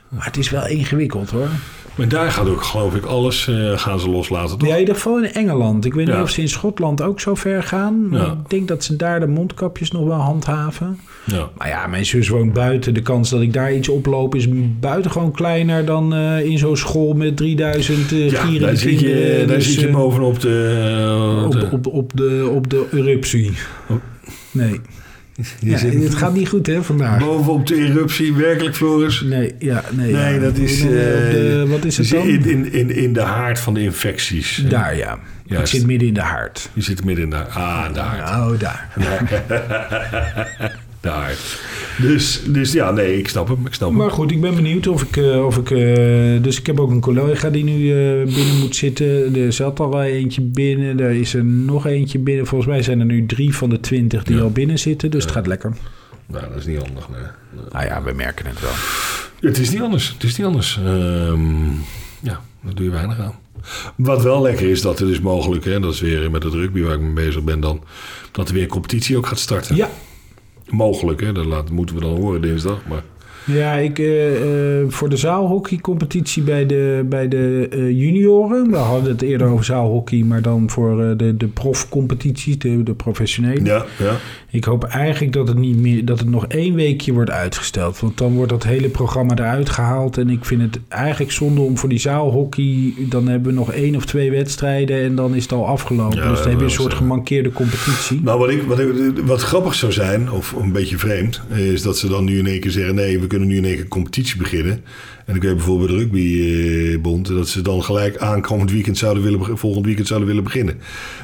Speaker 1: Maar het is wel ingewikkeld hoor.
Speaker 4: Maar daar gaat ook, geloof ik, alles eh, gaan ze loslaten. Toch?
Speaker 1: Ja, in ieder geval in Engeland. Ik weet
Speaker 4: Ja.
Speaker 1: niet of ze in Schotland ook zo ver gaan. Maar
Speaker 4: Ja.
Speaker 1: Ik denk dat ze daar de mondkapjes nog wel handhaven.
Speaker 4: Ja.
Speaker 1: Maar ja, mijn zus woont buiten. De kans dat ik daar iets oploop is buitengewoon kleiner dan eh, in zo'n school met 3000 eh
Speaker 4: Ja,
Speaker 1: gierende
Speaker 4: daar zit
Speaker 1: kinderen.
Speaker 4: je, daar
Speaker 1: Dus,
Speaker 4: zit je
Speaker 1: eh,
Speaker 4: bovenop de... eh,
Speaker 1: op,
Speaker 4: de-
Speaker 1: op, op de, op de eruptie. Nee.
Speaker 4: je
Speaker 1: Ja,
Speaker 4: zit
Speaker 1: het gaat niet goed hè vandaag.
Speaker 4: bovenop de eruptie, werkelijk, Floris.
Speaker 1: Nee, ja, nee.
Speaker 4: Nee,
Speaker 1: ja.
Speaker 4: dat is...
Speaker 1: Hoe noem je op de-
Speaker 4: eh,
Speaker 1: wat is
Speaker 4: je
Speaker 1: het
Speaker 4: zit
Speaker 1: dan?
Speaker 4: In, in, in, in de haard van de infecties.
Speaker 1: Daar ja. Ik
Speaker 4: Juist.
Speaker 1: zit midden in de haard.
Speaker 4: Je zit midden in de Ah, de haard.
Speaker 1: Oh, daar.
Speaker 4: De haard. Dus, dus ja, nee, ik snap hem. Ik snap hem.
Speaker 1: Maar goed, ik ben benieuwd of ik. eh, of ik eh, dus ik heb ook een collega die nu eh, binnen moet zitten. Er zat al wel eentje binnen. Er is er nog eentje binnen. Volgens mij zijn er nu drie van de twintig die al binnen zitten. Dus het gaat lekker.
Speaker 4: Nou, dat is niet handig, nee.
Speaker 1: Nou ja, we merken het wel.
Speaker 4: Het is niet anders. Het is niet anders. Ehm, ja, daar doe je weinig aan. Wat wel lekker is, dat er dus mogelijk, hè, dat is weer met het rugby waar ik mee bezig ben dan, dat er weer competitie ook gaat starten.
Speaker 1: Ja,
Speaker 4: Mogelijk, hè, dat laat, moeten we dan horen dinsdag. Maar
Speaker 1: ja ik, eh, eh, voor de zaalhockeycompetitie bij de, bij de eh, junioren. We hadden het eerder over zaalhockey, maar dan voor eh, de, de profcompetitie, de, de professionele.
Speaker 4: ja, ja.
Speaker 1: Ik hoop eigenlijk dat het, niet meer, dat het nog één weekje wordt uitgesteld. Want dan wordt dat hele programma eruit gehaald. En ik vind het eigenlijk zonde om voor die zaalhockey... dan hebben we nog één of twee wedstrijden en dan is het al afgelopen.
Speaker 4: Ja,
Speaker 1: dus dan
Speaker 4: dat
Speaker 1: heb
Speaker 4: eh,
Speaker 1: je
Speaker 4: wel
Speaker 1: een soort
Speaker 4: zo.
Speaker 1: gemankeerde competitie.
Speaker 4: Nou, wat, ik, wat, ik- wat grappig zou zijn, of een beetje vreemd, is dat ze dan nu in één keer zeggen: nee, we kunnen nu in één keer competitie beginnen. En ik weet bijvoorbeeld bij de rugbybond dat ze dan gelijk aankomend weekend zouden willen, beg- volgend weekend zouden willen beginnen.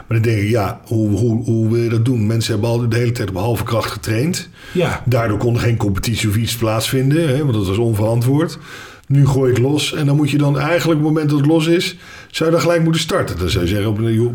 Speaker 4: Maar dan denk ik, ja, hoe, hoe, hoe wil je dat doen? Mensen hebben al de hele tijd op halve kracht getraind.
Speaker 1: Ja,
Speaker 4: Daardoor kon er geen competitie of iets plaatsvinden, hè, want dat was onverantwoord. Nu gooi ik los en dan moet je dan eigenlijk op het moment dat het los is, zou je dan gelijk moeten starten. Dan zou je zeggen, op, een- joh,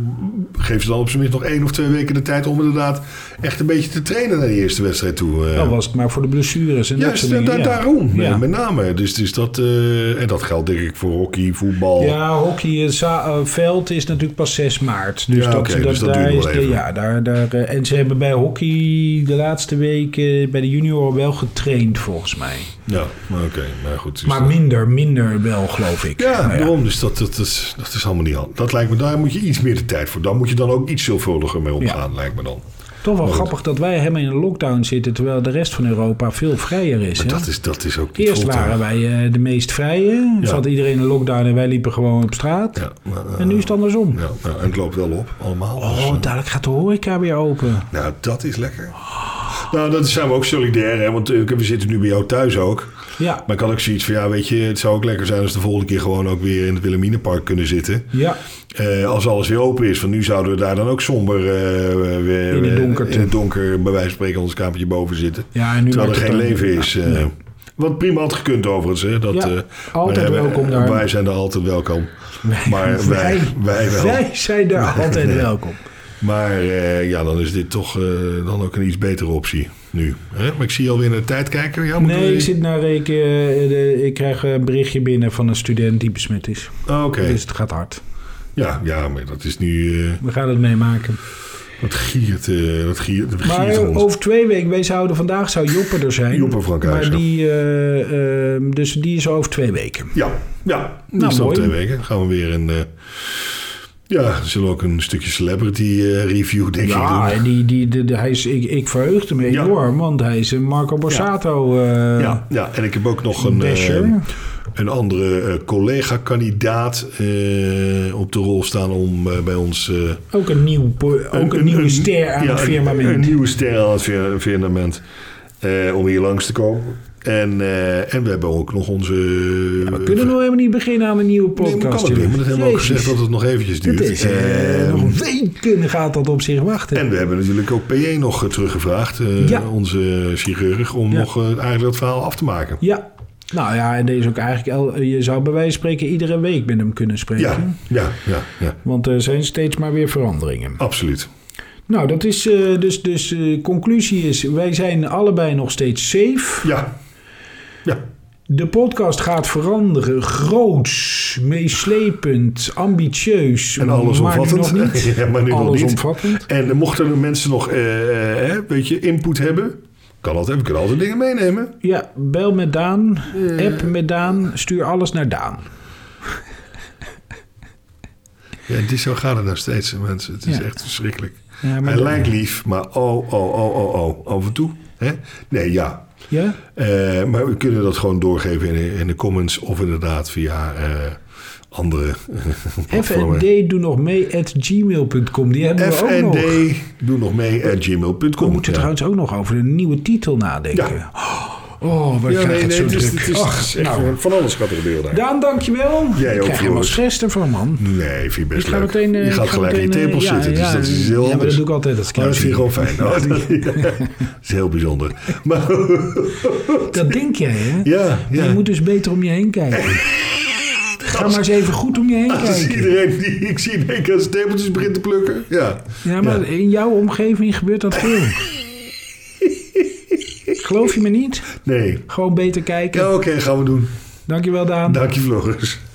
Speaker 4: geef ze dan op zijn minst nog één of twee weken de tijd om inderdaad echt een beetje te trainen naar die eerste wedstrijd toe. eh.
Speaker 1: dat was het maar voor de blessures en dat
Speaker 4: Juist,
Speaker 1: soort dingen.
Speaker 4: da- da-
Speaker 1: Nou, ja.
Speaker 4: daarom. eh,
Speaker 1: Ja.
Speaker 4: Met name. Dus, dus dat, eh, en dat geldt denk ik voor hockey, voetbal.
Speaker 1: Ja, hockey, eh, za- eh, veld is natuurlijk pas 6 maart. Dus
Speaker 4: Ja,
Speaker 1: dat,
Speaker 4: oké,
Speaker 1: dat,
Speaker 4: dus dat
Speaker 1: daar
Speaker 4: duurt
Speaker 1: is
Speaker 4: nog
Speaker 1: de-
Speaker 4: even.
Speaker 1: ja, daar, daar, eh, En ze hebben bij hockey de laatste weken bij de junioren wel getraind volgens mij.
Speaker 4: Ja, maar oké. maar goed. dus
Speaker 1: Maar
Speaker 4: dat-
Speaker 1: minder, minder wel geloof ik.
Speaker 4: ja,
Speaker 1: Nou
Speaker 4: daarom. Dus dat, dat, dat, is, dat is allemaal niet handig. Dat lijkt me, daar moet je iets meer de tijd voor. Daar moet je dan ook iets zorgvuldiger mee omgaan, lijkt me dan.
Speaker 1: Toch wel
Speaker 4: Maar goed.
Speaker 1: grappig dat wij helemaal in een lockdown zitten, terwijl de rest van Europa veel vrijer is.
Speaker 4: Maar
Speaker 1: hè?
Speaker 4: dat is, dat is ook niet
Speaker 1: Eerst
Speaker 4: goed, hè.
Speaker 1: waren wij eh, de meest vrije,
Speaker 4: Ja.
Speaker 1: zat iedereen in lockdown en wij liepen gewoon op straat.
Speaker 4: Ja, maar, eh,
Speaker 1: En nu is het andersom.
Speaker 4: ja, nou, en het loopt wel op, allemaal. Dus, eh,
Speaker 1: Oh, dadelijk gaat de horeca weer open.
Speaker 4: Nou, dat is lekker. Nou, dat zijn we ook solidair, hè? want eh, we zitten nu bij jou thuis ook.
Speaker 1: Ja,
Speaker 4: Maar ik had ook zoiets van, ja, weet je, het zou ook lekker zijn als we de volgende keer gewoon ook weer in het Wilhelminapark kunnen zitten.
Speaker 1: ja.
Speaker 4: Eh, als alles weer open is, want nu zouden we daar dan ook somber eh, weer,
Speaker 1: In de donkerte.
Speaker 4: in het donker, bij wijze van spreken, ons kamertje boven zitten.
Speaker 1: ja en nu
Speaker 4: terwijl
Speaker 1: wordt
Speaker 4: er
Speaker 1: het
Speaker 4: geen
Speaker 1: dan-
Speaker 4: leven is. eh. Wat prima had gekund overigens. Hè? Dat,
Speaker 1: Ja,
Speaker 4: eh,
Speaker 1: altijd
Speaker 4: maar, eh,
Speaker 1: welkom daar.
Speaker 4: Wij zijn er altijd welkom. Maar wij,
Speaker 1: Wij-
Speaker 4: wij wel.
Speaker 1: Wij zijn daar altijd welkom.
Speaker 4: Maar eh, ja, dan is dit toch eh, dan ook een iets betere optie nu. Hè? Maar ik zie alweer naar de tijd kijken. Ja, moeten
Speaker 1: Nee,
Speaker 4: we-
Speaker 1: ik zit naar ik, eh, de- ik krijg een berichtje binnen van een student die besmet is.
Speaker 4: Oh, Oké.
Speaker 1: Dus het gaat hard.
Speaker 4: Ja, ja, maar dat is nu... eh
Speaker 1: We gaan het meemaken.
Speaker 4: dat giert, eh dat giert, dat
Speaker 1: Maar
Speaker 4: giert rond.
Speaker 1: over twee weken, wij zouden vandaag zou Joppe er zijn.
Speaker 4: Joppe Frankhuis,
Speaker 1: Maar
Speaker 4: ja.
Speaker 1: die, eh, eh, dus die is over twee weken.
Speaker 4: Ja, ja. Die
Speaker 1: Nou,
Speaker 4: is dan
Speaker 1: mooi.
Speaker 4: twee weken. Dan gaan we weer een... eh ja, zullen we ook een stukje celebrity eh, review, denk ik, doen.
Speaker 1: Ja, en die, die, de- de- hij is, ik, ik verheugde me
Speaker 4: Ja.
Speaker 1: enorm, want hij is een Marco Borsato. eh,
Speaker 4: Ja, ja, en ik heb ook nog een, eh,
Speaker 1: Basher.
Speaker 4: een andere eh, collega-kandidaat eh, op de rol staan om eh, bij ons... eh,
Speaker 1: Ook een, nieuw, po- ook een, nieuwe ster aan
Speaker 4: ja,
Speaker 1: het
Speaker 4: een-
Speaker 1: firmament.
Speaker 4: Een, nieuwe ster aan het fir- firmament. eh, om hier langs te komen. En, eh, en we hebben ook nog onze...
Speaker 1: we kunnen nog helemaal niet beginnen aan een nieuwe
Speaker 4: Nee, maar kan
Speaker 1: podcast.
Speaker 4: het weer,
Speaker 1: joh.
Speaker 4: maar dat hebben we ook
Speaker 1: Jezus.
Speaker 4: gezegd dat het nog eventjes duurt.
Speaker 1: Het is, eh,
Speaker 4: Ehm,
Speaker 1: nog weken gaat dat op zich wachten.
Speaker 4: en we hebben natuurlijk ook PJ nog eh, teruggevraagd, eh,
Speaker 1: Ja.
Speaker 4: onze chirurg, om
Speaker 1: Ja.
Speaker 4: nog eh, eigenlijk dat verhaal af te maken.
Speaker 1: Ja, nou ja, en deze ook eigenlijk... el- Je zou bij wijze van spreken iedere week met hem kunnen spreken.
Speaker 4: Ja, ja, ja, ja,
Speaker 1: Want er zijn steeds maar weer veranderingen.
Speaker 4: absoluut.
Speaker 1: Nou, dat is eh, dus... Dus eh, conclusie is, wij zijn allebei nog steeds safe.
Speaker 4: Ja, ja.
Speaker 1: De podcast gaat veranderen. Groots, meeslepend, ambitieus.
Speaker 4: En
Speaker 1: Maar
Speaker 4: allesomvattend.
Speaker 1: nu nog niet.
Speaker 4: Ja, maar nu nog niet.
Speaker 1: allesomvattend.
Speaker 4: En eh, mochten er mensen nog eh, eh, een beetje input hebben, kan altijd, we kunnen altijd dingen meenemen.
Speaker 1: Ja, bel met Daan. App met Daan. Stuur alles naar Daan.
Speaker 4: Ja, het is, zo gaat het nog steeds, mensen. Het is
Speaker 1: Ja.
Speaker 4: echt verschrikkelijk.
Speaker 1: Ja, maar
Speaker 4: Hij
Speaker 1: dat-
Speaker 4: lijkt lief, maar oh, oh, oh, oh, oh, af en toe. Hè? Nee, ja.
Speaker 1: Ja?
Speaker 4: Eh, maar we kunnen dat gewoon doorgeven in de, in de comments of inderdaad via eh, andere platformen.
Speaker 1: FND doe nog mee at gmail.com. Die hebben we ook nog.
Speaker 4: FND, doe nog mee eh, at
Speaker 1: We
Speaker 4: gmail.com.
Speaker 1: moeten trouwens ook nog over een nieuwe titel nadenken.
Speaker 4: Ja.
Speaker 1: Oh, waar
Speaker 4: Ja,
Speaker 1: krijg
Speaker 4: nee,
Speaker 1: het
Speaker 4: nee,
Speaker 1: zo
Speaker 4: het is,
Speaker 1: druk.
Speaker 4: het is-
Speaker 1: Ach,
Speaker 4: het is echt
Speaker 1: nou.
Speaker 4: van- van alles gaat er gebeuren daar.
Speaker 1: Daan, dankjewel. Ik
Speaker 4: ook,
Speaker 1: krijg helemaal
Speaker 4: Floris.
Speaker 1: stress ervan, man.
Speaker 4: Nee, vind je best
Speaker 1: Ik ga
Speaker 4: leuk.
Speaker 1: meteen, eh,
Speaker 4: je
Speaker 1: ik
Speaker 4: gaat
Speaker 1: ga
Speaker 4: gelijk in
Speaker 1: meteen, eh,
Speaker 4: je tepels
Speaker 1: ja,
Speaker 4: zitten,
Speaker 1: ja,
Speaker 4: dus dat is heel
Speaker 1: ja, maar
Speaker 4: anders.
Speaker 1: dat doe ik altijd als ik
Speaker 4: Oh,
Speaker 1: jou
Speaker 4: dat vind je gewoon fijn. Oh, dat is heel bijzonder. Maar
Speaker 1: Dat denk jij, hè?
Speaker 4: ja,
Speaker 1: Maar Je
Speaker 4: ja.
Speaker 1: moet dus beter om je heen kijken. Ga maar eens even goed om je heen
Speaker 4: Als
Speaker 1: kijken.
Speaker 4: iedereen die ik zie in één keer zijn tepeltjes begint te plukken. Ja,
Speaker 1: Ja, maar in jouw omgeving gebeurt dat veel. Geloof je me niet?
Speaker 4: nee.
Speaker 1: Gewoon beter
Speaker 4: Ja,
Speaker 1: kijken.
Speaker 4: oké, gaan we doen.
Speaker 1: Dankjewel, Daan.
Speaker 4: Dank je, vloggers.